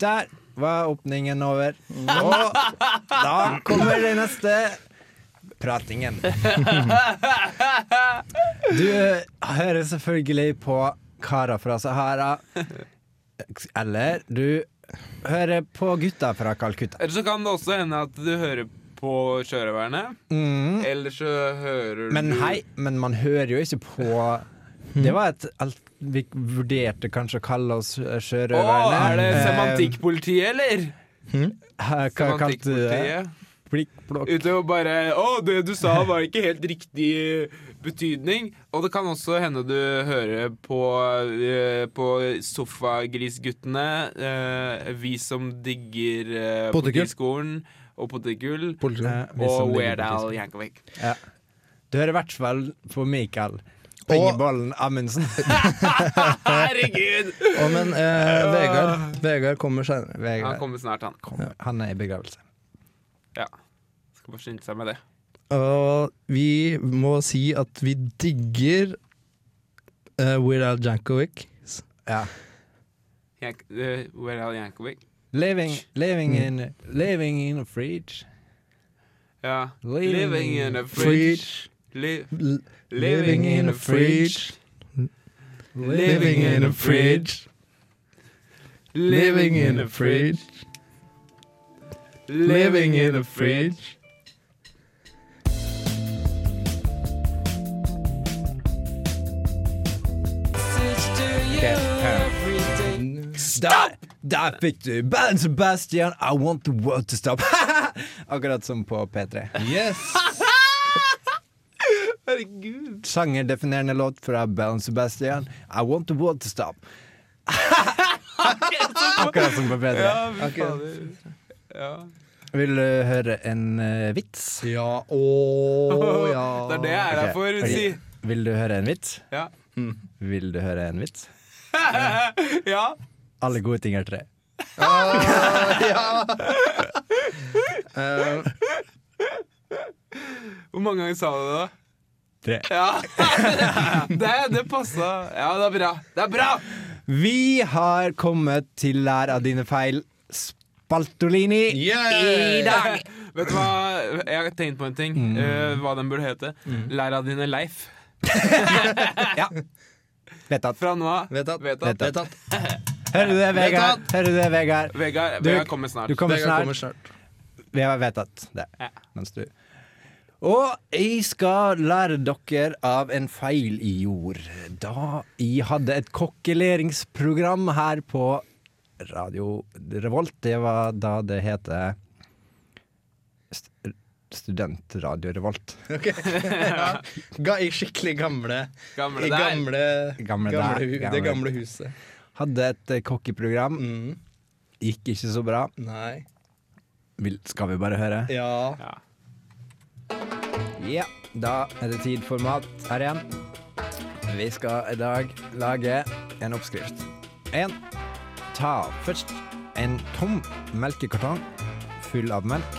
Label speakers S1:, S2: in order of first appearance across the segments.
S1: Der var åpningen over. Og da kommer det neste pratingen. Du eh, hører selvfølgelig på karer fra Sahara. Eller du hører på gutta fra Calcutta.
S2: Eller så kan det også hende at du hører på sjørøverne.
S1: Mm.
S2: Eller så hører
S1: Men
S2: du
S1: hei, men man hører jo ikke på Det var et alt Vi vurderte kanskje å kalle oss eh,
S2: Å,
S1: sjørøverne.
S2: er det
S1: Eh,
S2: semantikkpolitiet, eller?
S1: Hæ, Hva kalte du det?
S2: Semantikkpolitiet.
S1: Blikkblokk.
S2: Ute og bare Å, det du sa var ikke helt riktig betydning. Og det kan også hende du hører på, eh, på Sofagrisguttene, eh, vi som digger eh,
S3: Potetgull.
S2: politiskolen og potetgull,
S1: Eh, vi som
S2: og
S1: ligger på
S2: Weird Al
S1: tissen.
S2: Yankovic.
S1: Ja. Du hører i hvert fall på Mikael. Pengebollen Amundsen.
S2: Herregud!
S3: Å, men eh, Vegard, Vegard kommer senere.
S2: Han
S1: Vegard.
S2: kommer snart, han.
S1: Han er i begravelse.
S2: Ja. Skal bare skynde seg med det.
S3: Og vi må si at vi digger eh, Weird Al Jankovic.
S1: Ja.
S2: Yank eh, Weird Al Yankovic.
S1: Living, living,
S3: Mm.
S1: in, living in a fridge.
S2: Ja.
S1: Living
S2: Living in a
S3: Fridge.
S2: fridge. Li
S3: L
S2: living in a fridge. Living in a fridge.
S3: Living in a fridge. Living in a fridge.
S1: Der, der fikk du Band Sebastian, I want the world to stop. Akkurat som på P3.
S3: Yes!
S2: Herregud.
S1: Sangerdefinerende låt fra Band Sebastian, I want the world to stop. Akkurat som på P3.
S2: Ja, fy
S3: Ok.
S2: fader. Ja.
S1: Vil du høre en eh, vits?
S3: Ja, ååå, ja.
S2: Det er det jeg er her for,
S1: Ok.
S2: si.
S1: Vil du høre en vits?
S2: Ja.
S1: Vil du høre en vits?
S2: ja.
S1: Alle gode ting er tre.
S3: Eh,
S2: Hvor mange ganger sa du det, da?
S1: tre.
S2: Ja. Det, det passa. Ja, det er bra. Det er bra!
S1: Vi har kommet til lær av dine feil, Spaltolini,
S3: Yeah!
S1: i dag.
S2: Vet du hva? Jeg har tenkt på en ting. eh, hva den burde hete. Lær av dine Leif.
S1: Ja. Vedtatt.
S2: Fra nå av.
S3: Vedtatt.
S2: Vedtatt.
S3: Vedtatt.
S1: Hører du det, Vegard?
S3: Vedtatt.
S1: Hører du det, Vegard?
S2: Vegard,
S1: Du-
S2: Vegard kommer snart.
S1: Du kommer
S3: Vegard
S1: snart.
S3: kommer snart.
S1: Vi har vedtatt det.
S2: Ja.
S1: Mens du Og jeg skal lære dere av en feil i jord. Da jeg hadde et kokkeleringsprogram her på Radio Revolt, det var da det het st Studentradio Revolt.
S3: Ga, I skikkelig gamle
S2: Gamle
S3: I
S2: der.
S3: gamle,
S1: Gamle
S3: gamle,
S1: der,
S3: hu,
S1: gamle.
S3: Det gamle huset.
S1: Hadde et eh, kokkeprogram.
S3: Mm.
S1: Gikk ikke så bra.
S3: Nei.
S1: Vil, skal vi bare høre?
S3: Ja.
S2: Ja.
S1: Ja, da er det tid for mat her igjen. Vi skal i dag lage en oppskrift. En, ta først en tom melkekartong full av melk.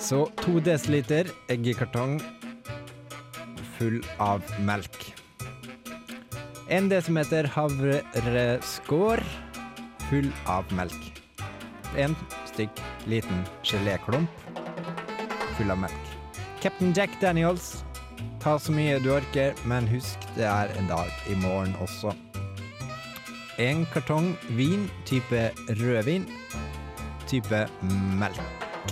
S1: Så 2 dl eggekartong full av melk. 1 dm havreskår full av melk. En stykk liten geléklump full av melk. Captain Jack Daniels. Ta så mye du orker, men husk det er en dag i morgen også. En kartong vin, type rødvin, type melk.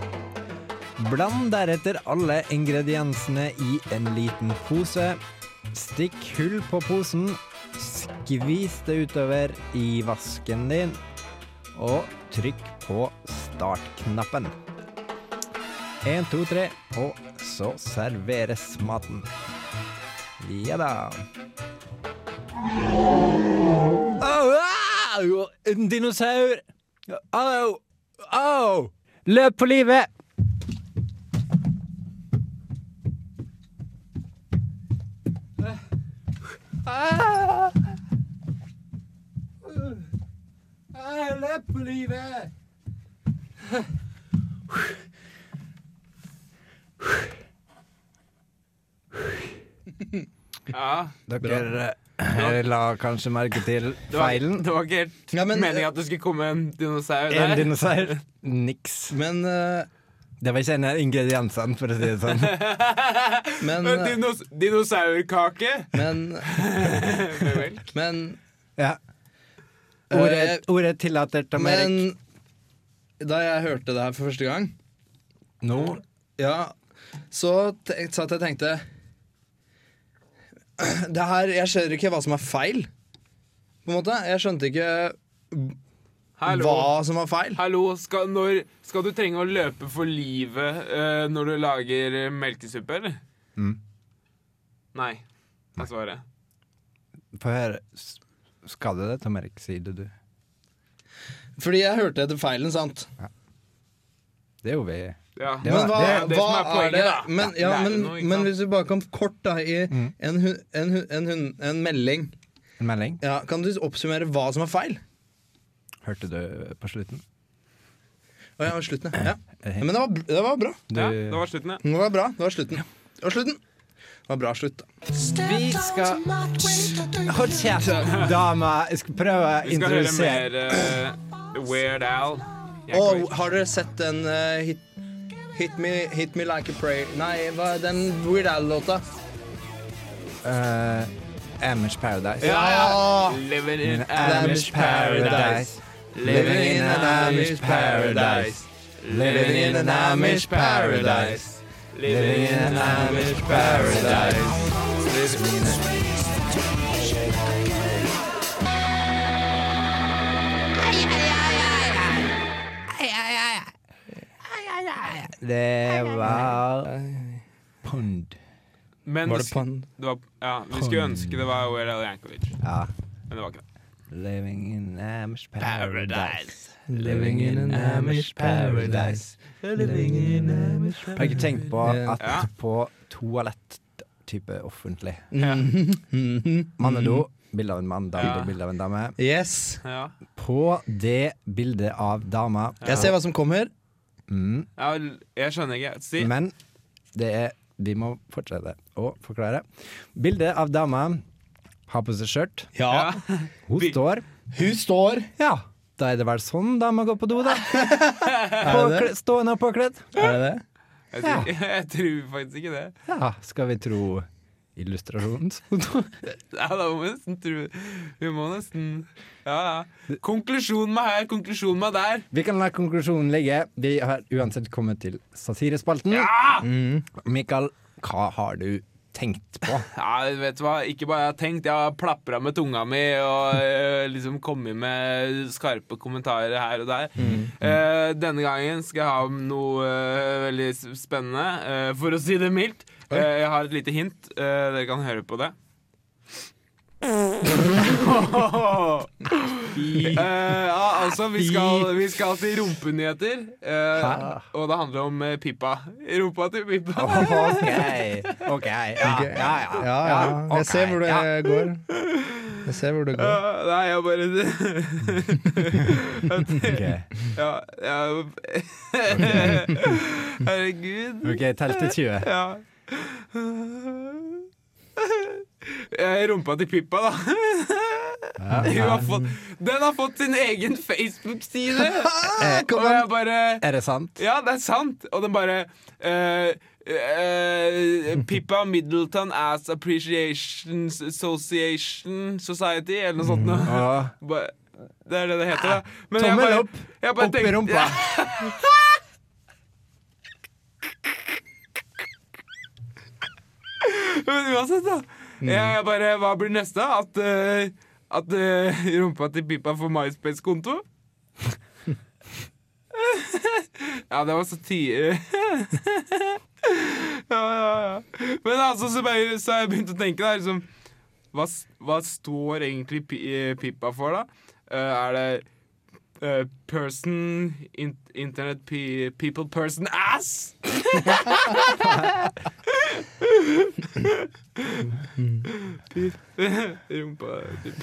S1: Bland deretter alle ingrediensene i en liten pose. Stikk hull på posen, skvis det utover i vasken din, og trykk på startknappen. Én, to, tre, og så serveres maten. Ja da. Au, au! En dinosaur! Au! Au! Løp på livet! Ah! Ah, Løp på livet!
S2: Ja.
S1: Dere Eh, La kanskje merke til
S2: Det var,
S1: feilen. eh,
S2: det var ikke helt
S3: Ja, men-
S2: meningen at det skulle komme en dinosaur
S1: En
S2: der.
S1: dinosaur. Niks.
S3: Men, eh,
S1: Det var ikke en av ingrediensene, for å si det sånn.
S3: men, eh,
S2: En dinos dinosaurkake
S3: men,
S2: med melk.
S3: men,
S1: Ja.
S3: Eh,
S1: Ordet, ordet tillater Tom
S3: men
S1: Erik.
S3: Da jeg hørte det her for første gang,
S1: Nå
S3: ja, så te- satt jeg og tenkte Det her Jeg skjønner ikke hva som er feil, på en måte. Jeg skjønte ikke
S2: Hallo.
S3: hva som var feil.
S2: Hallo, skal, når, skal du trenge å løpe for livet eh, når du lager eh, melkesuppe, eller?
S1: Mm.
S2: Nei, er svaret.
S1: Få høre. S- Skal du det, Tom Erik? Sier det du.
S3: Fordi jeg hørte etter feilen, sant.
S1: Det er jo vi.
S2: Ja.
S1: Det var-
S3: Men hva,
S2: det er det
S3: hva
S2: som er poenget,
S3: det?
S2: da.
S3: Men, ja,
S2: Det er
S3: men,
S2: jo noe, ikke
S3: men
S2: sant?
S3: hvis vi bare kan kort da i
S1: Mm.
S3: en, hun, en, hun, en, hun, en melding
S1: En melding.
S3: ja, Kan du oppsummere hva som var feil?
S1: Hørte du på slutten?
S3: Å, ja, slutten, ja. ja.
S1: Eh,
S3: Men det var, det var bra.
S1: Du,
S2: Ja, det var slutten, ja.
S3: Det var bra. Det var slutten. Det var slutten. Det var bra slutt, da.
S1: Vi skal Hold
S4: Hold
S1: kjeft, dama. Jeg skal prøve å
S2: Vi skal høre
S1: introdusere
S2: mer eh, Weird Al. Jeg
S3: Og
S2: kommer-
S3: har dere sett den eh, hit, hit, me, 'Hit Me Like a Prayer' Nei, hva, den Weird Al-låta.
S1: uh, Amish Paradise.
S2: Ja,
S3: Ah,
S2: Living in
S1: Amish
S2: Amish Paradise.
S1: Paradise.
S2: Living in an Amish
S1: paradise.
S2: Living in an Amish Paradise. Living in an Amish Paradise.
S1: Det var Pond.
S2: Men
S3: Var det på en
S2: det var, ja, vi skulle ønske det var Weird Al Yankovic,
S1: Ja.
S2: men det var ikke det.
S1: Living in Amish paradise. Living in an Amish paradise. Living in Amish paradise. Har ikke tenkt på at
S2: Ja.
S1: på toalett type offentlig
S3: Mhm.
S1: Mannedo, bilde av en mann, dame,
S2: Ja.
S1: bilde av en dame.
S3: Yes.
S2: Ja.
S1: På det bildet av dama
S3: Jeg ser hva som kommer.
S1: mm,
S2: Ja, l- jeg skjønner ikke. Si.
S1: Men det er Vi må fortsette å forklare. Bildet av dama har på seg skjørt.
S2: Ja.
S1: Hun
S2: Vi-
S1: står.
S3: Hun står
S1: Ja, da er det vel sånn dama går på do, da.
S3: det
S1: Påkle, stående og påkledd.
S3: Er det det?
S2: Jeg tror, jeg tror faktisk ikke det.
S1: Ja, skal vi tro illustrasjonsfoto?
S2: Ja, da må vi nesten tro Vi må nesten Ja, ja. Konklusjon med her, konklusjon med der.
S1: Vi kan la konklusjonen ligge. Vi har uansett kommet til satirespalten.
S2: Ah!
S1: Mikael, hva har du tenkt på?
S2: Ja, vet du hva? Ikke bare jeg har tenkt, jeg har plapra med tunga mi og eh, liksom kommet med skarpe kommentarer her og der. Eh, denne gangen skal jeg ha noe eh, veldig s- spennende, eh, for å si det mildt. Eh, jeg har et lite hint. eh, dere kan høre på det. Eh, ja, altså, vi skal, vi skal til rumpenyheter. eh,
S1: Hæ?
S2: og det handler om eh, Pippa. Rumpa til Pippa.
S1: OK. ok, Ja, ja, ja.
S3: Ja, ja.
S1: ok,
S3: Jeg ser hvor det
S1: ja.
S3: går. Jeg ser hvor det går.
S2: Ja, nei, jeg bare
S1: Ok.
S2: Ja, jeg Herregud.
S1: Ok, tell til 20.
S2: Ja. Jeg rumpa til Pippa, da. Hun har fått, den har fått sin egen Facebook-side!
S1: Eh,
S2: Og jeg bare
S1: Er det sant?
S2: Ja, det er sant! Og den bare eh, eh, Pippa Middleton Ass Appreciation Association Society, eller noe sånt. noe.
S1: Mm, Ja.
S2: Ba- Det er det det heter, da. Men
S1: Tommel
S2: jeg bare-
S1: opp.
S2: jeg bare
S1: Opp i
S2: tenkte-
S1: rumpa.
S2: Men uansett, da. Jeg, jeg bare, hva blir neste? At, eh, at eh, rumpa til Pippa får MySpace-konto? ja, det var så tidlig. ja, ja, ja. Men altså, så, bare, så har jeg begynt å tenke, da. Liksom, hva, s- hva står egentlig Pi- eh, Pippa for, da? Eh, er det eh, person in, Internet pe people person ass? Rumpa typ.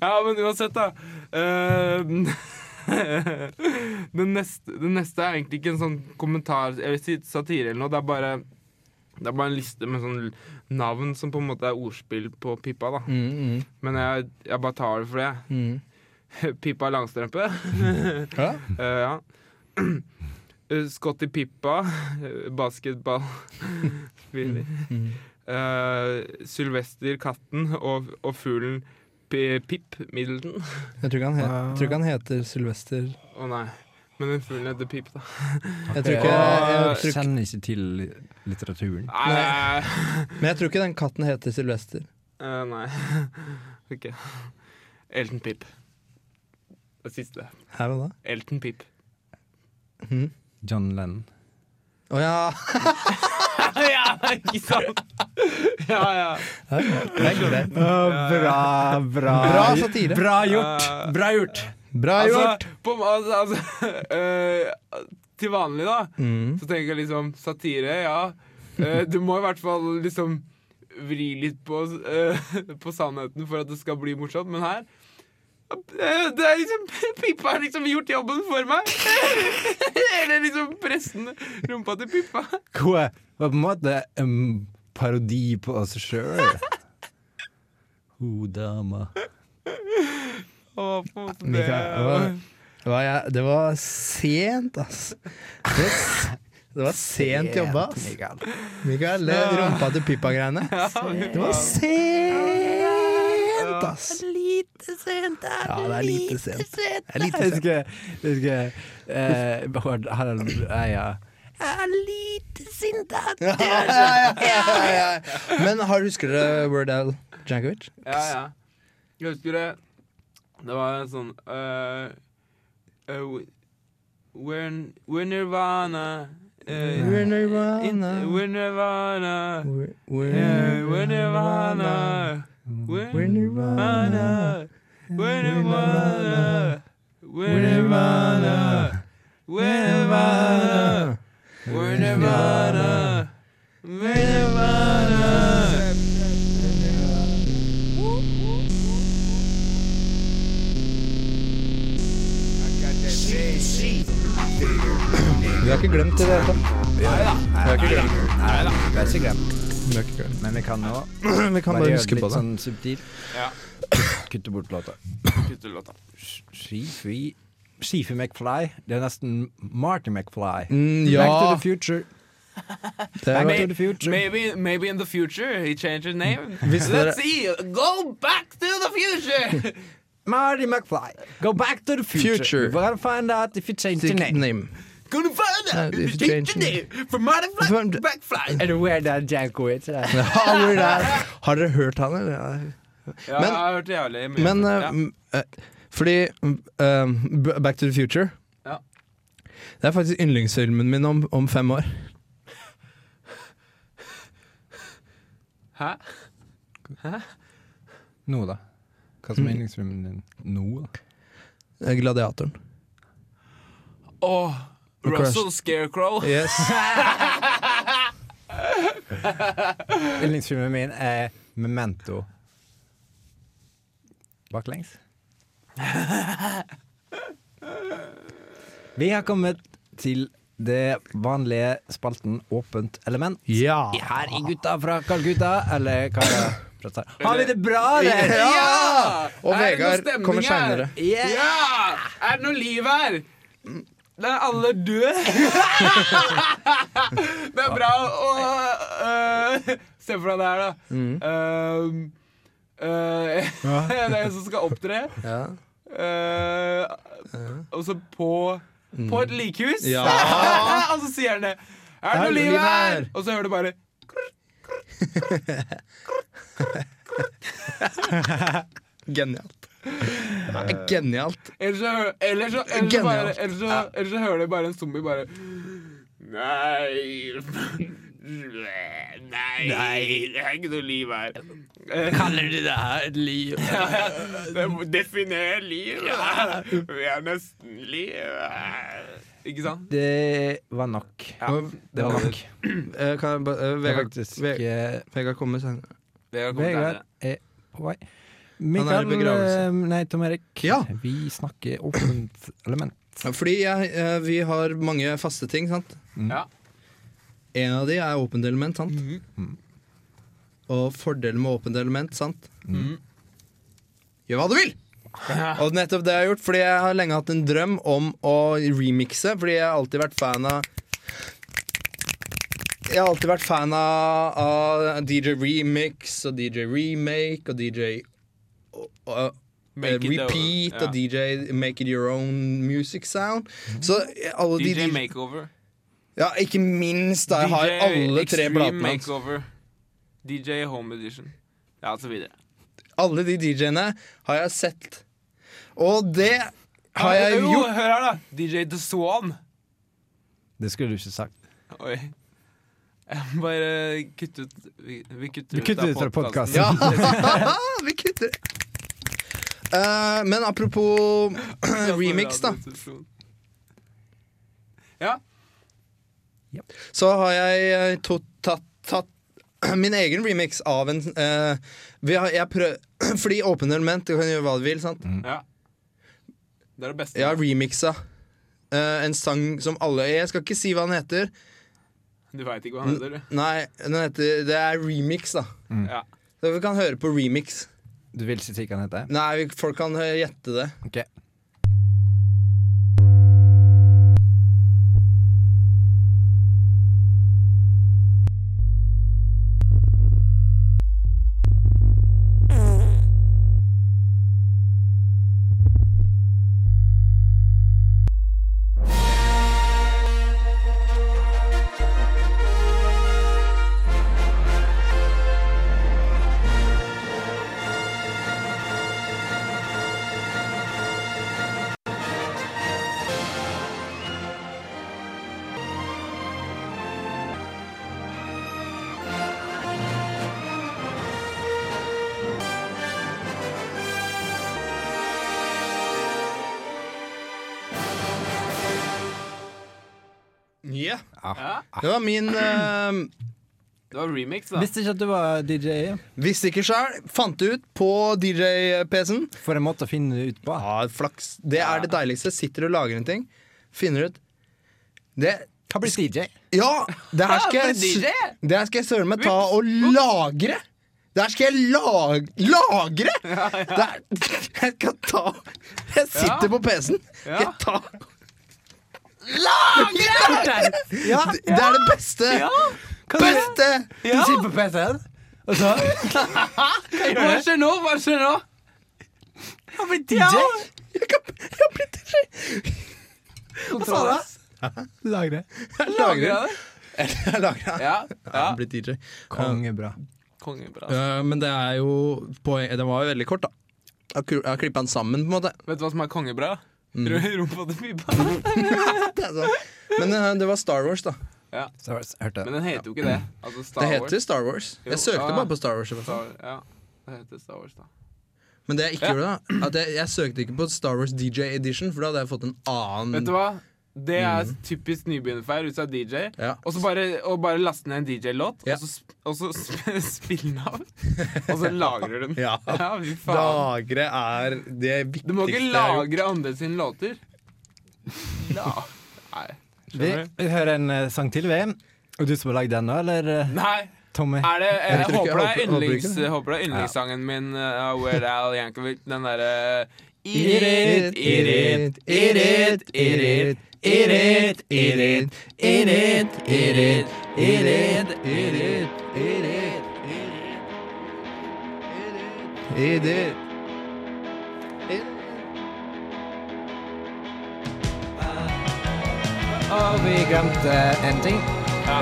S2: Ja, men uansett, da. eh, den, neste, den neste er egentlig ikke en sånn kommentar eller si- satire eller noe. Det er bare Det er bare en liste med sånn navn som på en måte er ordspill på Pippa, da.
S3: Mm, mm,
S2: Men jeg, jeg bare tar det for det.
S3: mm.
S2: Pippa Langstrømpe.
S3: Ja?
S2: Eh, ja. Eh, Scotty Pippa. eh, Basketball. Spiller.
S3: Mm.
S2: Eh, Sylvester Katten og, og fuglen P- Pip Middleton.
S3: Jeg tror ikke han, he jeg tror ikke han heter Sylvester.
S2: Å nei. Men den fuglen heter Pip, da.
S3: Jeg tror ikke, jeg, tror ikke,
S1: Kjenner ikke til litteraturen.
S2: Nei.
S3: men jeg tror ikke den katten heter Sylvester.
S2: Eh, nei. OK. Elton Pip. Det siste.
S3: Her og da.
S2: Elton Pip.
S3: Mm.
S1: John Lennon.
S3: Å ja!
S2: ja, ikke sant? ja, ja.
S3: Det er greit.
S1: Eh, bra, bra.
S3: Bra satire.
S1: Bra gjort. Bra gjort.
S3: Bra gjort!
S2: Altså, på, altså, altså eh, Til vanlig, da,
S3: Mm.
S2: så tenker jeg liksom satire, ja. Eh, du må i hvert fall liksom vri litt på, eh, på sannheten for at det skal bli morsomt, men her eh, det er liksom, Pippa har liksom gjort jobben for meg! Eller liksom pressen rumpa til Pippa.
S1: Hva var på en måte en parodi på oss sjøl. Ho dama.
S2: Og på en måte
S3: Mikael, det var, det var, jeg, det var sent, ass. Det var, s- det var sent jobba, ass. Mikael, det rumpa til Pippa-greiene. Det var sent, ass.
S1: Lite sent, det
S3: Ja, det er lite sent. Det er lite
S1: Jeg
S3: sent.
S1: husker, jeg husker eh, Bård Harald Eia. Jeg er lite sint. da.
S3: Ja, ja, ja, ja, ja. Men har, husker dere Wordal Jankovic?
S2: Ja, ja. Jeg husker det. Det var en sånn uh, uh, we're, we're Nirvana. Uh,
S3: We're Nirvana.
S2: in- eh, We're Nirvana.
S3: We're,
S2: Yeah, we're Nirvana. We're
S3: We're Nirvana.
S2: Nirvana. We're Nirvana. We're Nirvana. We're Nirvana. We're Nirvana. We're Nirvana.
S3: Vi har ikke glemt det, dette.
S1: Nei da, det er ikke glemt.
S3: Vi har ikke glemt.
S1: Men vi kan nå
S3: Vi kan bare
S1: gjøre
S3: huske
S1: det
S3: på
S1: litt
S3: det.
S1: sånn subtilt.
S2: Ja.
S1: Kutte bort låta.
S2: Kutter låta.
S1: Skifi Skifi McFly. Det er nesten Marty McFly.
S3: Mm, ja.
S1: Back to the future.
S3: Det
S1: Back
S3: var,
S1: to the future.
S2: Maybe, maybe in the future he changed his name.
S3: Hvis dere-
S2: Let's see. Go back to the future!
S1: Marty McFly. Go back to the future.
S3: Future.
S1: We're gonna find out if you change the name.
S3: name.
S2: Gonna find out
S3: Uh, if
S2: if
S3: you
S2: you change
S3: change
S2: your name from Marty Fly
S3: From-
S2: to Back Fly.
S1: Er du weird at Jankowitz?
S3: Ja, hvor er Har dere hørt han, eller? Ja.
S2: Ja,
S3: Men-
S2: jeg har hørt jævlig mye.
S3: Men
S2: om
S3: eh,
S2: det.
S3: m- eh, Fordi eh, B- Back to the Future
S2: Ja.
S3: Det er faktisk yndlingsfilmen min om, om fem år.
S2: Hæ?
S1: Nå, da. Hva som er yndlingsfilmen din nå? da?
S3: Eh, Gladiatoren.
S2: Åh,
S3: Crash.
S2: Russell Scarecrow.
S3: Yes.
S1: Yndlingsfilmen min er Memento. Baklengs. Vi har kommet til det vanlige spalten Åpent element.
S3: Ja.
S1: Her i Gutta fra Kalkutta, eller hva er det? Fra Tar- Har vi det bra, eller?
S2: Ja!
S3: Og
S2: Er det noe
S3: Vegard
S2: stemning
S3: kommer
S2: her?
S3: seinere.
S1: Yeah!
S2: Ja! Er det noe liv her? Det er alle døde. det er bra å øh, se for deg det her, da. Ehm, øh, det er en som skal opptre.
S3: Ja.
S2: Eh, og så på På et likhus.
S3: Ja.
S2: og så sier han det. Er det noe liv her? Og så hører du bare
S3: Genialt.
S1: Eh,
S3: Det er Genialt.
S2: Eller så, hø- eller så, eller så, bare,
S3: Genialt.
S2: eller så, eller så hører du bare en zombie bare Nei Nei, det er ikke noe liv her.
S3: Eh.
S2: Kaller du det her et liv? Definer liv. Vi er nesten liv. Ikke sant?
S1: Det var nok.
S3: Og,
S1: Det var nok.
S3: eh, kan jeg ba, eh,
S1: Det er
S3: Vegard,
S1: faktisk
S3: Ve-
S1: eh,
S3: Vegard kommer senere.
S2: Det har kommet
S1: Vegard
S2: her.
S1: er på vei.
S3: er i
S1: Mikael,
S3: begravelse.
S1: eh, nei, Tom Erik.
S3: Ja.
S1: Vi snakker åpent element.
S3: Fordi jeg, eh, vi har mange faste ting, sant?
S2: Ja.
S3: En av de er åpent element, sant?
S2: Mhm.
S1: Mm.
S3: Og fordelen med åpent element, sant?
S2: Mhm.
S3: Gjør hva du vil! Og nettopp det jeg har gjort, fordi jeg har lenge hatt en drøm om å remixe, fordi jeg har alltid vært fan av jeg har alltid vært fan av, av DJ Remix og DJ Remake og DJ og, og,
S2: Make it
S3: Repeat
S2: over,
S3: og DJ Make It Your Own Music Sound. Så alle de
S2: DJ Makeover.
S3: Ja, ikke minst. da Jeg har
S2: DJ
S3: alle tre
S2: Extreme
S3: platene hans.
S2: Makeover. DJ Home Edition. Ja, og så videre.
S3: Alle de DJ-ene har jeg sett. Og det har jeg
S2: Jo,
S3: gjort.
S2: Hør her, da! DJ The Swan.
S1: Det skulle du ikke sagt.
S2: Oi. Jeg Bare kutt ut Vi, vi kutter
S1: Vi kutter ut
S2: av
S1: fra podcasten.
S3: Ja, vi kutter. Eh, men apropos remix, da.
S2: Ja.
S3: Så har jeg eh, to, tatt, tatt min egen remix av en eh, vi har, jeg prøv, Fordi åpen element, du kan gjøre hva du vil, sant?
S2: ja. Det er det beste.
S3: Jeg har remixa eh, en sang som alle Jeg skal ikke si hva den heter.
S2: Du veit ikke hva
S3: Mm.
S2: han heter, du.
S3: Nei, den heter Det er remix, da.
S1: Mm.
S2: Ja.
S3: Så vi kan høre på remix.
S1: Du vil ikke si hva han heter?
S3: Nei, vi- folk kan eh, gjette det.
S1: Ok.
S3: Ja.
S2: ja.
S3: Det var min eh,
S2: Det var remix, da.
S1: Visste ikke at du var DJ.
S3: Visste ikke sjøl. Fant det ut på DJ-PC-en.
S1: For en måte å finne det ut på.
S3: Ja, flaks. Det er det deiligste. Sitter og lager en ting, finner ut det,
S1: Hva blir DJ?
S3: Ja! Det her
S2: Ja,
S3: skal
S2: for DJ!
S3: jeg, s- det her skal jeg søren meg ta og lagre. Det her skal jeg lag, lagre! Det her, jeg skal ta Jeg sitter
S2: Ja.
S3: på PC-en.
S2: Ja.
S3: Jeg tar Lagre! Det, det er det beste. Beste!
S1: Du sitter på PC-en, og så
S2: Hva skjer nå? Hva skjer nå?
S1: Hva blir DJ?
S3: Jeg kan, jeg har blitt
S2: Hva
S1: sa du? Lagre.
S3: Lagre.
S2: Lagra det?
S3: Jeg lagra.
S2: Ja. ja.
S3: Jeg er blitt DJ.
S1: Kongebra.
S2: Kongebra.
S3: Eh, men det er jo poeng eh, Den var jo veldig kort, da. Jeg har kru- Jeg har klippa den sammen, på en måte.
S2: Vet du hva som er kongebra?
S3: Mm.
S2: Ro- Rumpa til pipa.
S3: Det er sånn. Men eh, det var Star Wars, da.
S2: Ja.
S1: Så hørte jeg.
S2: Men den heter jo ikke det. Altså Star
S3: Det heter
S2: Wars.
S3: Star Wars.
S2: Jo,
S3: Jeg søkte
S2: ja, ja.
S3: bare på Star Wars. i hvert fall.
S2: Star, ja. Det heter Star Wars, da.
S3: Men det jeg ikke
S2: Ja.
S3: gjorde, da At jeg, jeg søkte ikke på Star Wars DJ Edition, for da hadde jeg fått en
S2: Vet
S3: annen
S2: du hva? Det er typisk nybegynnerfeil hvis du er DJ.
S3: Mm. Ja.
S2: Og så bare, og bare laste ned en DJ-låt,
S3: Ja.
S2: og så, sp- og så sp spille den av. Og så lagrer du den.
S3: Ja.
S2: fy faen.
S3: Lagre er det viktigste
S2: Du må ikke
S3: jeg har gjort.
S2: lagre andre sine låter. La. Nei.
S1: Vi,
S2: Skjønner du?
S1: vi hører en eh, sang til, vi. Og du som har lagd den nå, eller? eh,
S2: Nei.
S1: Tommy?
S2: Er det, jeg,
S3: Jeg tror ikke-
S2: håper det er
S3: jeg håper- håper ikke
S2: yndlings,
S3: det.
S2: håper det er yndlingssangen min eh, av Weird Al Yankovic. Den derre
S3: Eat it, eat it, eat it, eat it, eat it, eat it, eat it, eat it, eat it, eat it, eat it, eat it, eat it.
S1: Og vi glemte en ting.
S2: Ja.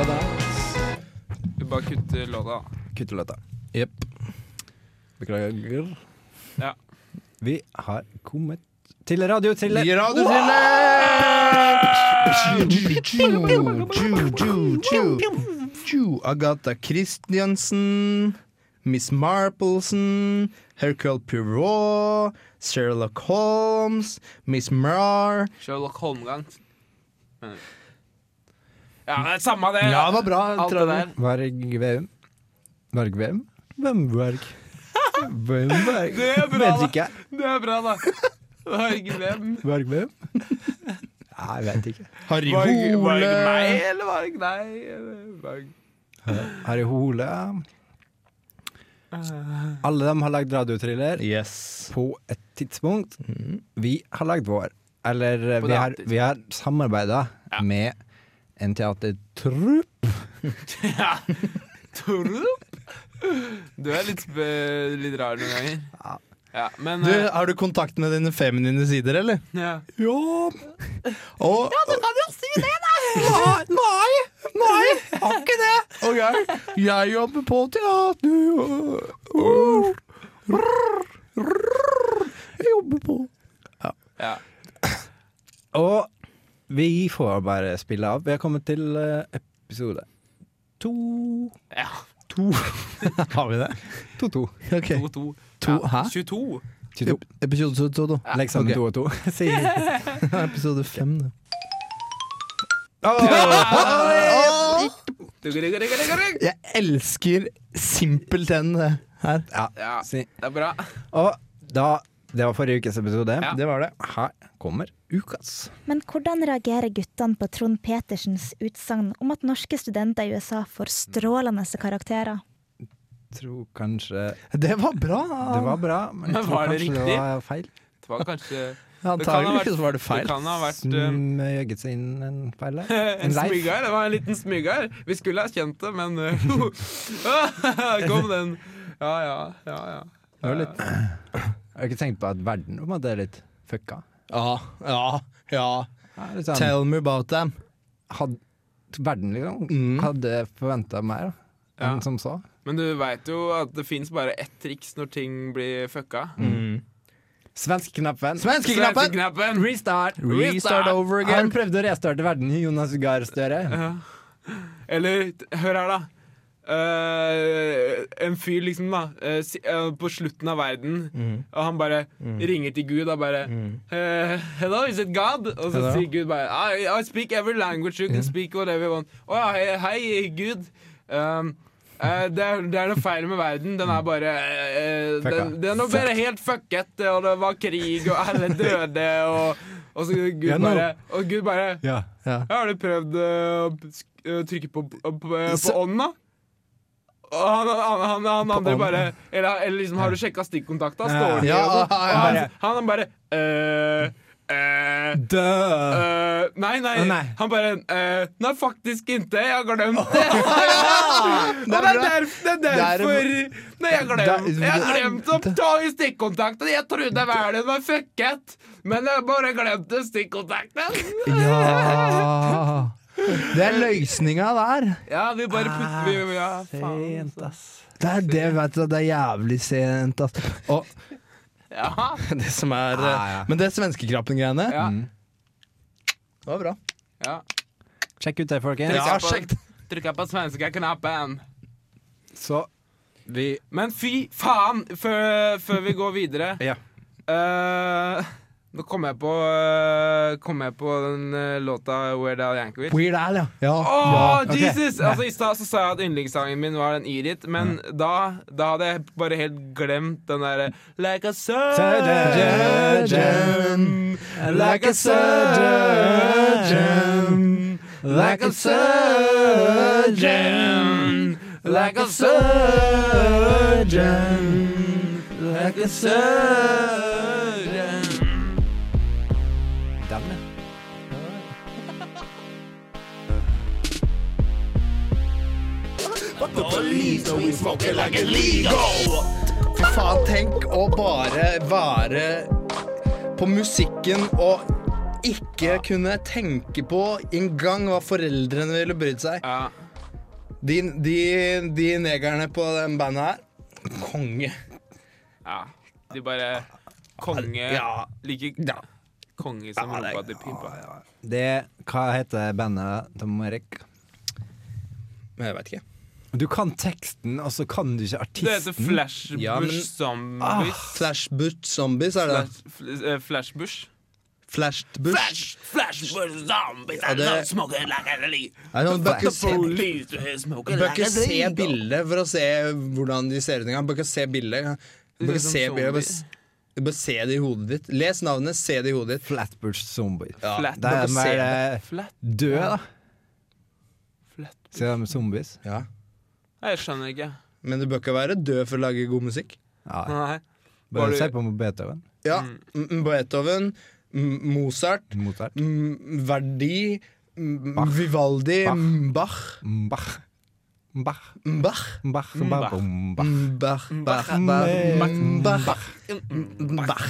S2: Du bare kutter låta.
S1: Kutter låta.
S3: Jepp.
S1: Beklager.
S2: Ja.
S1: Vi har kommet til radiotriller.
S3: Gi radiotriller! Agatha Christiansen, Miss Marpleson, Hercule Poirot, Sherlock Holmes, Miss Marr
S2: Sherlock Holmgang. Men- Ja, det er samme det.
S3: Ja, det var bra.
S2: Alt det der.
S1: Varg Veum. Varg Veum? Hvem Varg? Hvem Varg?
S2: Det er bra,
S1: Vet
S2: da.
S1: ikke.
S2: Det er bra, da. Varg Vem.
S1: Varg Veum? Nei, jeg vet ikke.
S3: Harry
S2: Var det var det meg,
S3: Hole.
S2: eller var det ikke deg? eller var det-
S1: Harry Hole.
S2: Ah.
S1: Alle dem har lagd radiotriller
S3: Yes.
S1: på et tidspunkt. Vi har lagd vår. Eller
S2: Mm.
S1: eh,
S2: På
S1: vi
S2: det
S1: har,
S2: tidspunkt.
S1: vi har samarbeida med en teatertrupp.
S2: Ja. Tror du Du er litt, sp- litt rar noen ganger. Ja, men
S3: Du,
S2: eh,
S3: har du kontakt med dine feminine sider, eller?
S2: ja.
S3: Ja. Og,
S1: Du kan jo si det, da! Nei! Nei! Har ikke det!
S3: og jeg, jeg jobber på teater. og- Jeg jobber på
S2: ja.
S1: Og vi får bare spille av. Vi har kommet til eh, episode to
S2: ja.
S3: To. Har vi det?
S1: To, to.
S3: Ok.
S2: 22.
S3: To, hæ?
S2: Ja. 22.
S1: to.
S3: Episode to, da.
S1: Legg sammen
S3: Ok.
S1: to og to. Si.
S3: Episode fem, da.
S2: Ja,
S3: Jeg elsker simpelthen det her.
S1: Ja, si.
S2: det er bra.
S1: Og da Det var forrige ukes episode.
S2: Ja.
S3: Det var det.
S1: Her kommer ukas.
S4: Men hvordan reagerer guttene på Trond Petersens utsagn om at norske studenter i USA får strålende karakterer?
S1: Tror kanskje
S3: Det var bra.
S1: det var bra, men,
S2: Men
S1: jeg tror
S2: var det
S1: kanskje
S2: riktig?
S1: det var feil.
S2: Det var kanskje
S3: Antagelig så var det
S2: Det
S3: feil.
S2: kan ha vært eh,
S1: Smøget seg inn en feil der.
S2: en smygger. Det var en liten smygger. Vi skulle ha kjent det, men eh, Kom den. Ja, ja. ja, ja.
S1: Det var litt Jeg har ikke tenkt på at verden på en måte er litt fucka.
S3: Ja, ja, ja.
S1: Ja, litt sånn,
S3: Tell me about them.
S1: had, verden liksom
S3: Mm.
S1: hadde forventa mer da,
S2: Ja.
S1: enn som så.
S2: Men du veit jo at det fins bare ett triks når ting blir fucka.
S3: Mm.
S1: Svenskknappen.
S3: Svenskeknappen!
S2: Svenskeknappen.
S1: Restart!
S3: Restart over
S1: Har
S3: again.
S1: du prøvd å restarte verden, Jonas Gahr Støre?
S2: Ja. Eller t- hør her, da. Eh, en fyr, liksom, da. eh, si, eh, på slutten av verden.
S1: Mm.
S2: Og han bare ringer til Gud og bare eh, Hello, is it God? Og så
S1: Hello.
S2: sier Gud bare I, I speak every language you can speak whatever you want. Å ja, hei, hei, Gud. Um, eh, det, er, det er noe feil med verden. Den
S1: Mm.
S2: er bare eh, eh,
S1: Fucka.
S2: den, den er nå bare helt fucket, og det var krig, og alle døde, og, og så Gud
S1: Ja, nå-
S2: bare Og Gud bare
S1: Ja.
S3: Ja.
S2: ja, har du prøvd eh, å sk- eh, trykke på, på, på, på
S3: Så-
S2: ånden, da? Og han, han, han, han andre
S1: ånden?
S2: bare Eller, eller liksom, har du sjekka stikkontakta? Står den i
S3: Ja,
S2: og sånn?
S3: ja, ja,
S2: Og han,
S1: ja.
S2: han, bare eh, eh,
S1: Død!
S2: eh, nei, nei,
S1: Å, nei.
S2: Han bare eh, Nei, faktisk ikke. Jeg har glemt det. Og det er,
S3: bra.
S2: derf, det er derfor Nei, jeg glemte
S3: Der-
S2: Jeg har glemt å ta i stikkontakten. Jeg trodde verden var fucket, men jeg bare glemte stikkontakten.
S3: Ja Ah. Det er løsninga der.
S2: Ja, vi bare putter vi, vi- ja, faen. altså.
S1: Sent, ass.
S3: Det er det, vet du. Det er jævlig sent, ass. Og
S2: Ja.
S3: det som er eh,
S1: Ja, ja.
S3: Men det svenskekrappen-greiene,
S2: Ja.
S1: Mm.
S3: det var bra.
S2: ja.
S1: Sjekk ut det, folkens.
S3: Ja,
S2: Trykka på-
S3: sjekk det.
S2: Trykka på svenskeknappen.
S1: Så vi
S2: Men fy faen, før, før vi går videre
S1: Ja.
S2: Eh, Nå kom jeg på eh, Kom jeg på den eh, låta Weird Al Yankovic.
S3: Weird Al, ja. ja.
S2: Åh,
S1: ok.
S2: Jesus! Altså, I stad så sa jeg at yndlingssangen min var den Irit, men da, da hadde jeg bare helt glemt den derre Like a surgeon, like a surgeon, like a surgeon, like a surgeon, like a surgeon.
S1: Den, ja.
S3: Fy faen, tenk å bare være på musikken og ikke kunne tenke på engang hva foreldrene ville brydd seg.
S2: Ja,
S3: De, de, de negerne på den bandet her Konge.
S2: ja. De bare Konge
S3: Ja.
S2: Like
S3: Ja.
S2: konge som
S3: Ja, det-
S2: rumpa til pimpa.
S1: Det Hva heter bandet til Erik?
S3: Men jeg veit ikke.
S1: Du kan teksten, og så kan du ikke artisten.
S2: Det heter Flashbush
S3: Ja, men- Ah!
S2: Zombies.
S3: Flashbush Zombies, er det?
S2: Flash, fl- eh, flashbush?
S3: Flashbush?
S2: Flash, flashbush zombies
S3: Ja, det- not
S2: smoking like a league.
S3: Nei, man bør ikke se,
S2: smoking
S3: bør ikke se
S2: Liksom
S3: bildet for å se hvordan de ser ut engang. Bør ikke se bildet. Bør ikke se bildet. bare s- Du bør se det i hodet ditt. Les navnet, se det i hodet ditt.
S1: Flatbush Zombier.
S3: Ja,
S2: Flat-
S1: Det
S3: dere
S1: er
S3: ser
S1: mer
S3: det.
S1: eh,
S2: Flat,
S1: død, da.
S2: flat.
S1: Se det med zombies.
S3: Ja.
S2: Nei, Jeg skjønner ikke.
S3: Men du bør ikke være død for å lage god musikk.
S1: Ja,
S2: Nei. Var
S1: bare
S2: du-
S1: se på Beethoven.
S3: Ja, M- Beethoven, M- Mozart,
S1: Mozart.
S3: M- Verdi, M-
S1: Bach.
S3: Vivaldi,
S1: Bach.
S3: M- Bach.
S1: Mbach. Mbach.
S3: Bach.
S1: Mbach.
S2: Mbach.
S1: Mbach. Mbach.
S3: M- Bach. Bach.
S1: M-
S3: Bach.
S1: Bach.
S3: M- Bach. M-
S2: Bach.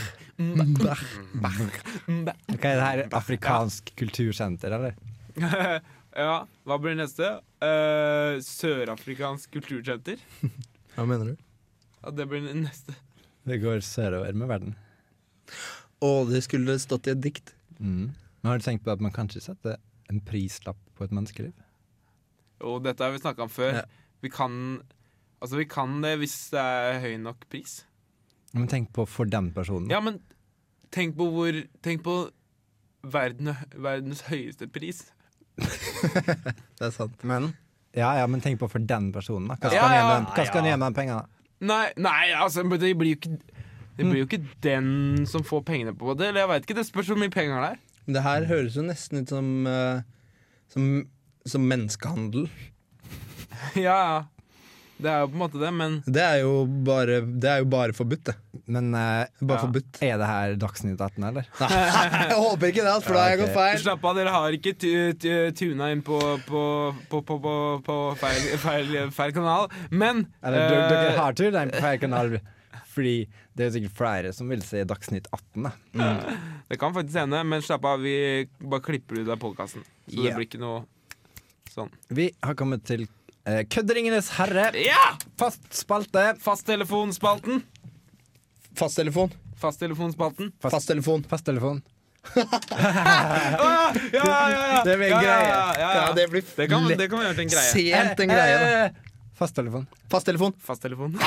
S3: Bach. Bach.
S2: Bach.
S1: Ok, det her er afrikansk kultursenter, eller?
S2: ja, hva blir neste? Eh, Sørafrikansk kultursenter.
S3: Hva mener du?
S2: Ja, det blir neste.
S1: Det går sørover med verden.
S3: Å, det skulle stått i et dikt.
S1: Mm. Men har du tenkt på at man kan ikke sette en prislapp på et menneskeliv?
S2: Og dette har vi snakka om før.
S3: Ja.
S2: Vi kan Altså, vi kan det hvis det er høy nok pris.
S1: Men tenk på for den personen.
S2: Ja, men tenk på hvor Tenk på verden, verdens høyeste pris.
S3: Det er sant. Men
S1: Ja, ja, men tenk på for den personen. Da. Hva skal
S2: Ja,
S1: han
S2: ja.
S1: gjøre med, hva skal han gjøre med den pengene? da?
S2: Nei, nei altså, men det blir jo ikke det blir jo ikke den som får pengene på det. Eller jeg veit ikke, det spørs hvor mye penger det er.
S3: det her høres jo nesten ut som eh, Som, som menneskehandel.
S2: Ja, ja. Det er jo på en måte det, men
S3: Det er jo bare, det er jo bare forbudt, det.
S1: Men eh,
S3: Bare
S2: Ja.
S3: forbudt.
S1: er det her Dagsnytt 18, eller?
S3: Jeg håper ikke det, altså, for da har jeg
S1: Ja,
S3: gått
S1: ok.
S3: feil.
S2: Slapp av, dere har ikke tu- tu- tuna inn på, på, på, på, på, på feil, feil, feil kanal. Men
S1: Eller dere-
S2: eh,
S1: dere har tur, den på feil kanal. Fordi det er sikkert flere som vil se Dagsnytt 18, da.
S2: Mm. det kan faktisk hende. Men slapp av, vi bare klipper ut av podkasten. Så
S1: Yeah.
S2: det blir ikke noe sånn.
S1: Vi har kommet til eh, Kødderingenes herre.
S2: Ja!
S1: Fast spalte.
S2: Fasttelefonspalten.
S3: Fasttelefon.
S2: Fasttelefonspalten.
S3: Fasttelefon.
S1: Fasttelefon.
S2: Ah, ja, ja, ja.
S1: Det blir en
S2: ja, ja,
S1: greie.
S2: Ja, ja.
S3: Ja, det blir
S2: Det kan, det kan gjøre til en greie. Eh,
S3: sent en greie, da.
S1: da. Fasttelefon.
S3: Fasttelefon.
S2: Fasttelefon.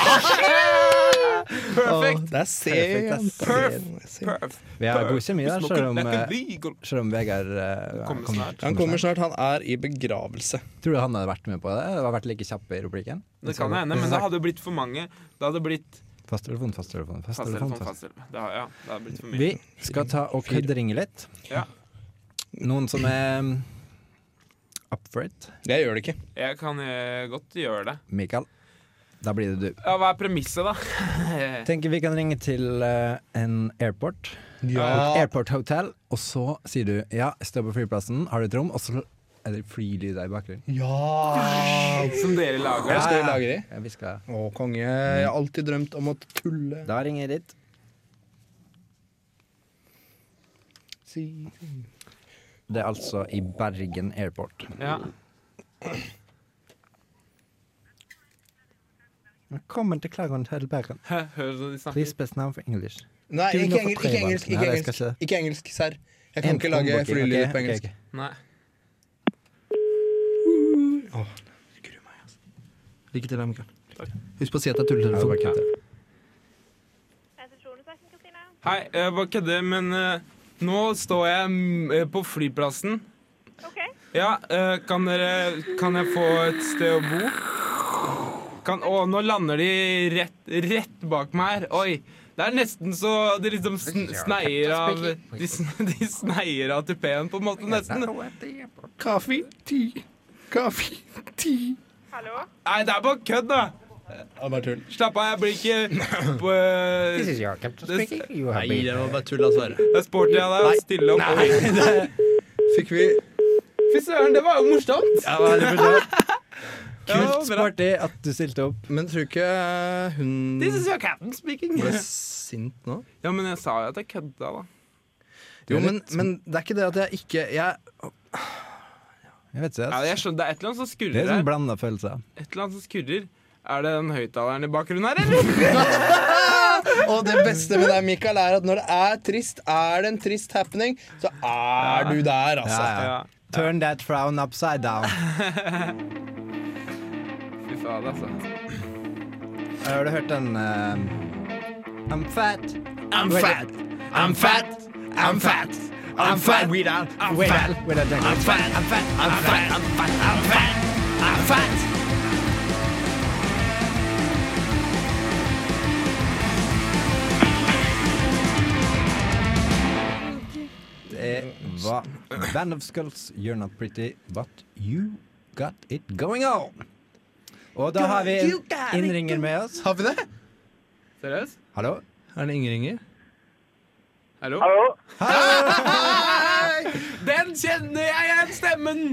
S3: Perfekt.
S2: Ah, Perfekt.
S3: Det er sent.
S2: Perfekt, Perf.
S1: Vi har god kjemi, da, selv om, eh,
S2: legal.
S1: selv om Vegard eh,
S2: Kommer
S1: kom-
S2: snart.
S3: Han kommer snart. Han er i begravelse.
S1: Tror du han hadde vært med på det? Eller vært like kjapp i replikken?
S2: Det kan hende, men det hadde blitt for mange. Det hadde blitt
S1: Fasttelefon, fasttelefon, fasttelefon.
S2: fasttelefon,
S1: fast-
S2: fasttelefon. Det har- Ja, det hadde blitt for mye.
S1: Vi skal ta og kødderinge litt.
S2: Ja.
S1: Noen som er mm, up for it?
S3: Jeg gjør det ikke.
S2: Jeg kan eh, godt gjøre det.
S1: Mikael, da blir det du.
S2: Ja, Hva er premisset, da?
S1: Tenker vi kan ringe til eh, en airport.
S3: Ja.
S1: Airport Hotel, og så sier du ja, stå på flyplassen, har du et rom? Og så er det flylyder i bakgrunnen.
S3: ja.
S2: Som dere lager?
S3: Er det
S2: da?
S3: større lager i?
S1: Ja, vi skal
S3: Å, konge. Jeg har alltid drømt om å tulle.
S1: Da ringer jeg dit.
S3: Si.
S1: Det er altså i Bergen Airport.
S2: Ja.
S1: Velkommen til Klagon Hotel Bergen.
S2: Hæ, Hører du hva de snakker?
S1: Please best name for English.
S3: Nei,
S1: Du, nå
S3: ikke
S1: får
S3: engelsk, ikke
S1: tre barn.
S3: engelsk,
S1: Nei,
S3: ikke
S1: jeg skal
S3: engelsk,
S1: ikke.
S3: ikke engelsk serr. Jeg kan
S1: En
S3: ikke lage
S1: håndbok,
S3: flylyd
S1: ok,
S3: på
S1: ok,
S3: engelsk.
S1: ok.
S2: Nei.
S3: Gruer meg, altså. Lykke til, da, Mikael. Husk på å si at det er
S1: Ja, det var
S3: tulletelefon.
S1: kødd.
S2: Hei, jeg bare kødder, men eh, nå står jeg mm, eh, på flyplassen. Ja, eh, kan dere Kan jeg få et sted å bo? Kan, å, nå lander de rett, rett bak meg her. Oi. Det er nesten så de liksom sn sneier av De, sn de sneier av tupeen, på en måte, nesten.
S3: Kaffe, ti, kaffe, ti.
S2: Nei, det er bare kødd, da.
S3: Det var bare tull.
S2: Slapp av, jeg blir ikke på, eh, Det
S3: Nei, det var bare tull av Sverre.
S2: er sporty av deg å stille opp.
S3: Fikk vi
S2: Fy søren, det var jo morsomt!
S3: Ja, hva er det for noe?
S2: Ja,
S1: Kult
S2: bra.
S1: sporty at du stilte opp.
S3: Men tror ikke hun
S2: This is your captain speaking.
S3: ble sint nå?
S2: Ja, men jeg sa jo at jeg kødda, da.
S3: Jo, men, men det er ikke det at jeg ikke Jeg,
S1: Jeg vet ikke,
S2: Ja,
S1: ass.
S2: jeg skjønner, Det er et eller annet som
S1: Det
S2: skurrer
S1: er sånn
S2: her.
S1: blanda følelser.
S2: Et eller annet som skurrer. Er det den høyttaleren i bakgrunnen her, eller?
S3: og det beste med deg, Mikael, er at når det er trist, er det en trist happening, så er du der, altså.
S1: Ja, ja. Turn that frown upside down.
S2: Fy faen, altså.
S1: Har du hørt den eh, I'm fat.
S2: I'm
S1: fat.
S2: I'm fat. I'm fat. I'm fat. Without. I'm
S1: Wait, wait, wait, wait.
S2: fat. I'm fat. I'm fat. I'm fat. I'm fat. I'm fat.
S1: var Band of Skulls, You're Not Pretty, But You Got It Going On. Og da har vi en innringer med oss.
S3: Har vi det?
S2: Seriøst?
S1: Hallo?
S3: Er det innringer?
S2: Hallo?
S5: Hallo?
S2: Den kjenner jeg igjen stemmen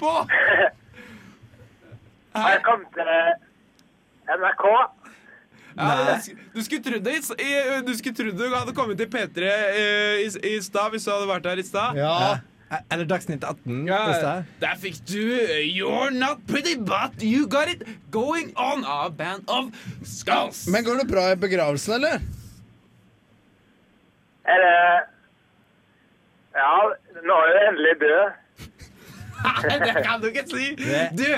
S2: på!
S5: Har jeg kommet til eh, NRK?
S2: Ja, du sk- du skulle trodd det, i s- i- du skulle trodd du hadde kommet til P3 eh, i, s- i stad hvis du hadde vært her i stad.
S3: Ja.
S1: Eh, Eller Dagsnytt 18.
S2: Ja,
S1: Ja.
S2: der fikk du eh, You're not pretty, but you got it going on av Band of Skulls.
S3: Men går det bra i begravelsen, eller?
S5: Er det eh, Ja, nå er jeg endelig død.
S2: Nei, det kan du ikke si! Du!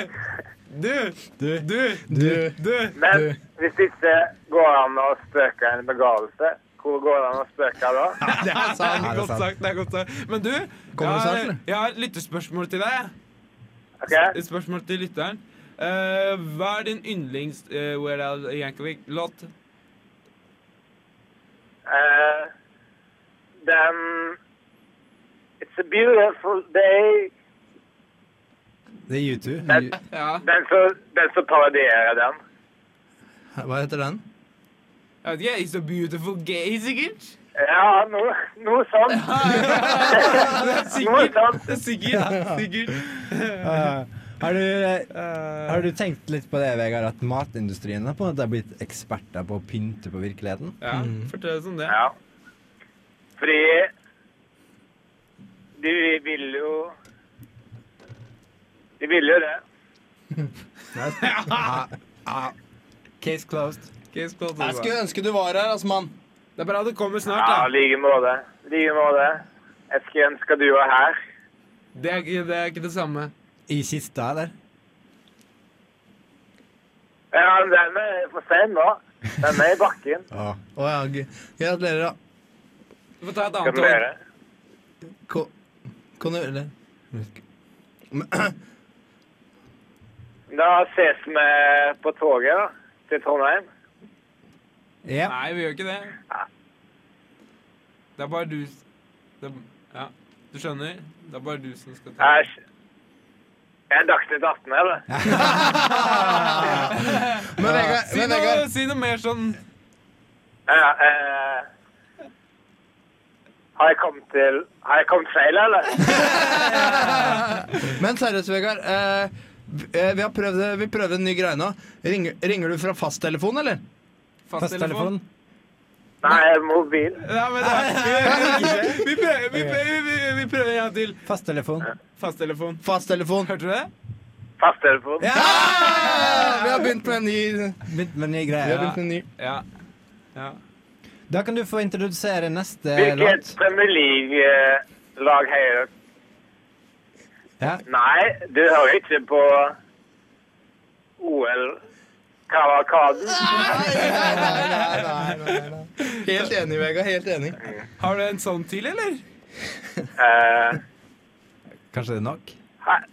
S2: Du! Du! Du!
S3: Du.
S5: Men
S3: Du.
S5: hvis det ikke går an å spøke en begravelse, hvor går det an å spøke da?
S3: Det er
S2: Det er
S1: det
S2: godt
S1: sant?
S2: sagt. det er godt sagt. Men du, jeg
S3: Kommer det snart,
S2: har,
S3: eller?
S2: jeg har et lyttespørsmål til deg.
S5: OK?
S2: Et spørsmål til lytteren. Eh, hva er din yndlings uh, Weird Al Yankovic-låt?
S5: Eh, den It's a beautiful day.
S1: Det er U2.
S5: Den,
S2: Ja,
S5: den som den som parodierer den.
S3: Hva heter den?
S2: jeg vet ikke. It's a beautiful gay, sikkert?
S5: Ja, noe, noe sånt. Noe
S2: Sikkert.
S5: sånt.
S2: Sikkert. sikkert.
S1: Eh, har, du, eh, har du tenkt litt på det, Vegard, at matindustrien har på en måte blitt eksperter på å pynte på virkeligheten?
S2: Ja, fortell oss om det.
S5: Ja. Fordi de vil jo De vil jo det.
S1: Case closed.
S2: Case closed,
S3: Jeg
S2: det,
S3: skulle ønske du var her, altså, mann.
S2: var. det er bra det kommer
S5: Ja,
S2: snart. da.
S5: like måte. Like måte. Jeg skulle ønske du var her.
S2: Det er, ikke- det er ikke det samme.
S1: I kista, eller?
S5: Ja, men den er for sein nå. Den er i bakken.
S1: Å,
S3: Å ja, g- gratulerer, da.
S2: Du får ta et annet tog.
S5: Gratulerer.
S3: Ko- Kan du Eller
S5: Da ses vi på toget da, til Trondheim.
S1: Ja.
S2: Nei, vi gjør ikke det. Det er bare du s- det er, Ja, du skjønner? Det er bare du som skal ta
S5: Jeg er Dagsnytt 18, eller?
S3: Men Vegard,
S2: Si
S3: men
S2: noe,
S3: Vegard
S2: si noe mer sånn
S5: Ja, eh, har jeg kommet til Har jeg kommet feil, eller?
S3: Men seriøst, Vegard. Eh, v- eh, vi har prøvd, vi prøver en ny greie nå. Ringer, ringer du fra fasttelefon, eller?
S1: Fasttelefon.
S2: fasttelefon.
S5: Nei, mobil.
S2: Ja, men det, vi, vi, prøver, vi, prøver, vi, vi prøver en gang til.
S1: Fasttelefon.
S2: Fasttelefon.
S3: Fasttelefon.
S2: Hørte du det?
S5: Fasttelefon.
S3: Ja, vi har begynt med en ny Vi
S1: Begynt med nye
S3: har
S1: greier.
S3: begynt med en ny
S2: Ja. ja.
S1: Da kan du få introdusere neste
S5: Hvilket
S1: låt.
S5: Premier League-lag heier dere?
S1: Ja.
S5: Nei, du hører ikke på OL-kavalkaden.
S3: Helt enig, Vegard. Helt enig.
S2: Har du en sånn til, eller?
S5: Eh,
S1: Kanskje det er nok?
S5: har,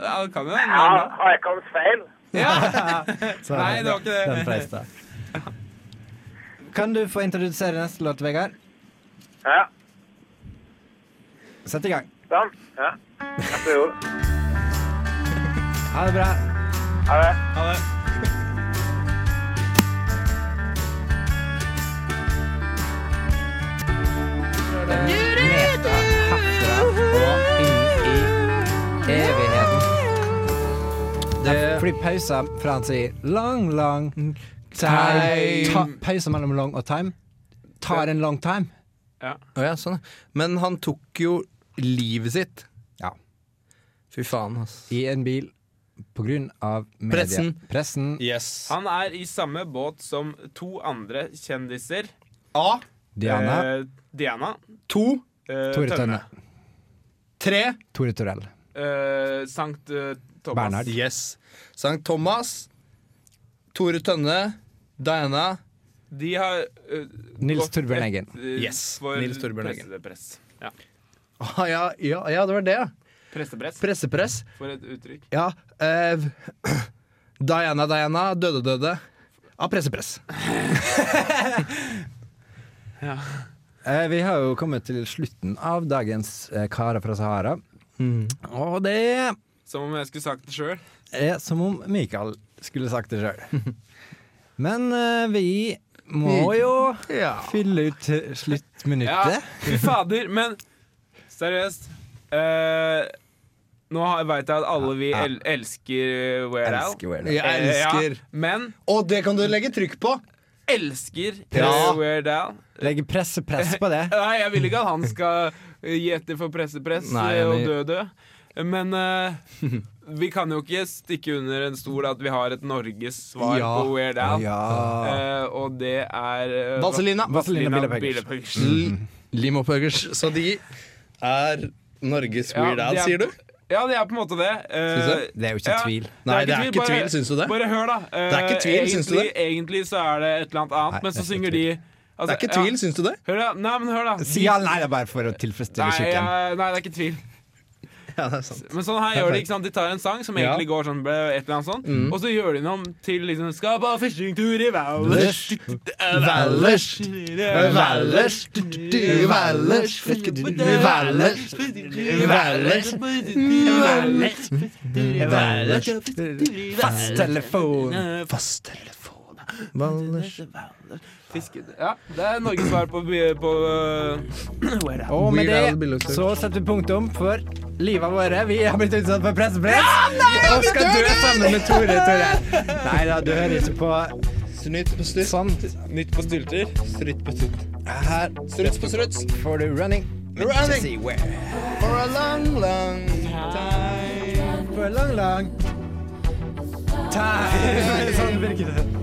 S2: Ja, det kan jo hende.
S5: har har jeg kommet feil?
S2: Ja.
S1: Så
S2: Nei, det var ikke det.
S1: Den freiste. Kan du få introdusere neste låt, Vegard?
S5: Ja,
S1: Sett i gang.
S5: sånn. Ja. Jeg tror jo.
S1: Ha det bra.
S5: Ha det.
S2: Ha det.
S1: Meta herfra og inn i evigheten. Det er fordi pausa fra han sier lang, lang time ta, Pausa mellom long og time tar en long time.
S3: Å ja, sånn. ja. Men han tok jo livet sitt.
S1: Ja.
S3: Fy faen, altså.
S1: I en bil på grunn av media.
S3: Pressen.
S1: Pressen.
S3: Yes.
S2: Han er i samme båt som to andre kjendiser.
S3: A.
S1: Diana.
S2: Eh, Diana.
S3: To.
S2: eh,
S1: Tore Tønne.
S3: Tre.
S1: Tore Torell.
S2: Eh, Sankt eh, Thomas.
S1: Bernhard.
S3: Yes. Sankt Thomas. Tore Tønne. Diana.
S2: De har eh,
S1: Nils
S2: gått
S1: Torbjørn
S2: et-
S1: Eggen.
S2: eh,
S3: Yes,
S2: for
S3: Nils Torbjørn Eggen.
S2: Pressepress. Ja.
S3: Ah, ja, ja, ja, det var det, ja.
S2: Pressepress,
S3: Pressepress.
S2: for et uttrykk.
S3: Ja. eh, Diana, Diana. Døde, døde. Av pressepress.
S1: Eh, vi har jo kommet til slutten av dagens eh, Karer fra Sahara.
S2: Mm.
S1: Og det
S2: Som om jeg skulle sagt det sjøl.
S1: er som om Mikael skulle sagt det sjøl. Men eh, vi må jo
S3: Ja.
S1: fylle ut eh,
S2: Ja,
S1: sluttminuttet.
S2: fy fader, men seriøst eh, Nå har- vet jeg at alle vi el elsker Weird Al.
S1: Elsker Weird Al.
S3: Jeg elsker
S2: Ja, men
S3: Og det kan du legge trykk på!
S2: elsker
S3: Ja.
S2: eh, Weird Al.
S1: Legge presse press på det.
S2: Nei, jeg vil ikke at han skal eh, gi etter for pressepress
S3: Nei,
S2: eh, og
S3: enig.
S2: dø dø. Men eh, vi kan jo ikke stikke under en stol at vi har et Norges svar
S3: Ja.
S2: på Weird Al.
S1: Ja.
S2: Eh, og det er eh,
S3: Vaselina.
S1: Vaselina
S2: Vaselina
S1: Bielepeggers.
S2: Bielepeggers.
S3: Mm. Mhm. Limopuggers. Så de er Norges Weird
S2: Ja,
S3: Al,
S2: det er-
S3: sier du?
S2: Ja, det er på en måte det. Eh,
S3: Synes jeg.
S1: Det er jo ikke tvil.
S3: Nei, det er ikke tvil, syns du det?
S2: Bare hør, da. Eh,
S3: Det er ikke tvil,
S2: egentlig,
S3: syns du det?
S2: Egentlig så er det et eller annet annet,
S1: Nei,
S2: men
S1: det
S2: så
S1: er
S2: synger
S1: ikke
S2: de
S1: tvil.
S3: Det
S2: altså,
S3: er ikke tvil,
S2: Ja,
S3: syns du det?
S2: hør, da. Nei, men hør, da.
S1: Si ja, nei, det er bare for å tilfredsstille
S2: Nei,
S1: tjukken.
S2: ja, nei, det er ikke tvil.
S3: Ja, det er sant.
S2: Men sånn her gjør de, ikke sant? De tar en sang som
S3: Ja.
S2: egentlig går sånn, ble- et eller annet sånn, og så gjør de den om til liksom Skal på fishingtur i Valdres
S3: Valdres. Valdres. Valdres. Valdres. Valdres. Mm.
S1: Fasttelefon.
S3: Fasttelefon.
S2: Fiske- Ja, det er Norges svar på,
S1: Og
S2: på
S1: med
S3: Weird Al
S1: det
S3: Billøser.
S1: så setter vi punktum for livet våre. Vi har blitt utsatt for pressepress og skal dø sammen med Tore. Tore. Nei da, du hører ikke på
S3: Snytt på stuss.
S1: sånt.
S2: Nytt på stylter.
S3: Strutt på tutt.
S1: Her
S3: Struts på struts.
S1: får du running. men ikke
S3: Running.
S1: si where.
S3: For a long, long time.
S1: For lang, lang time. Sånn virker det.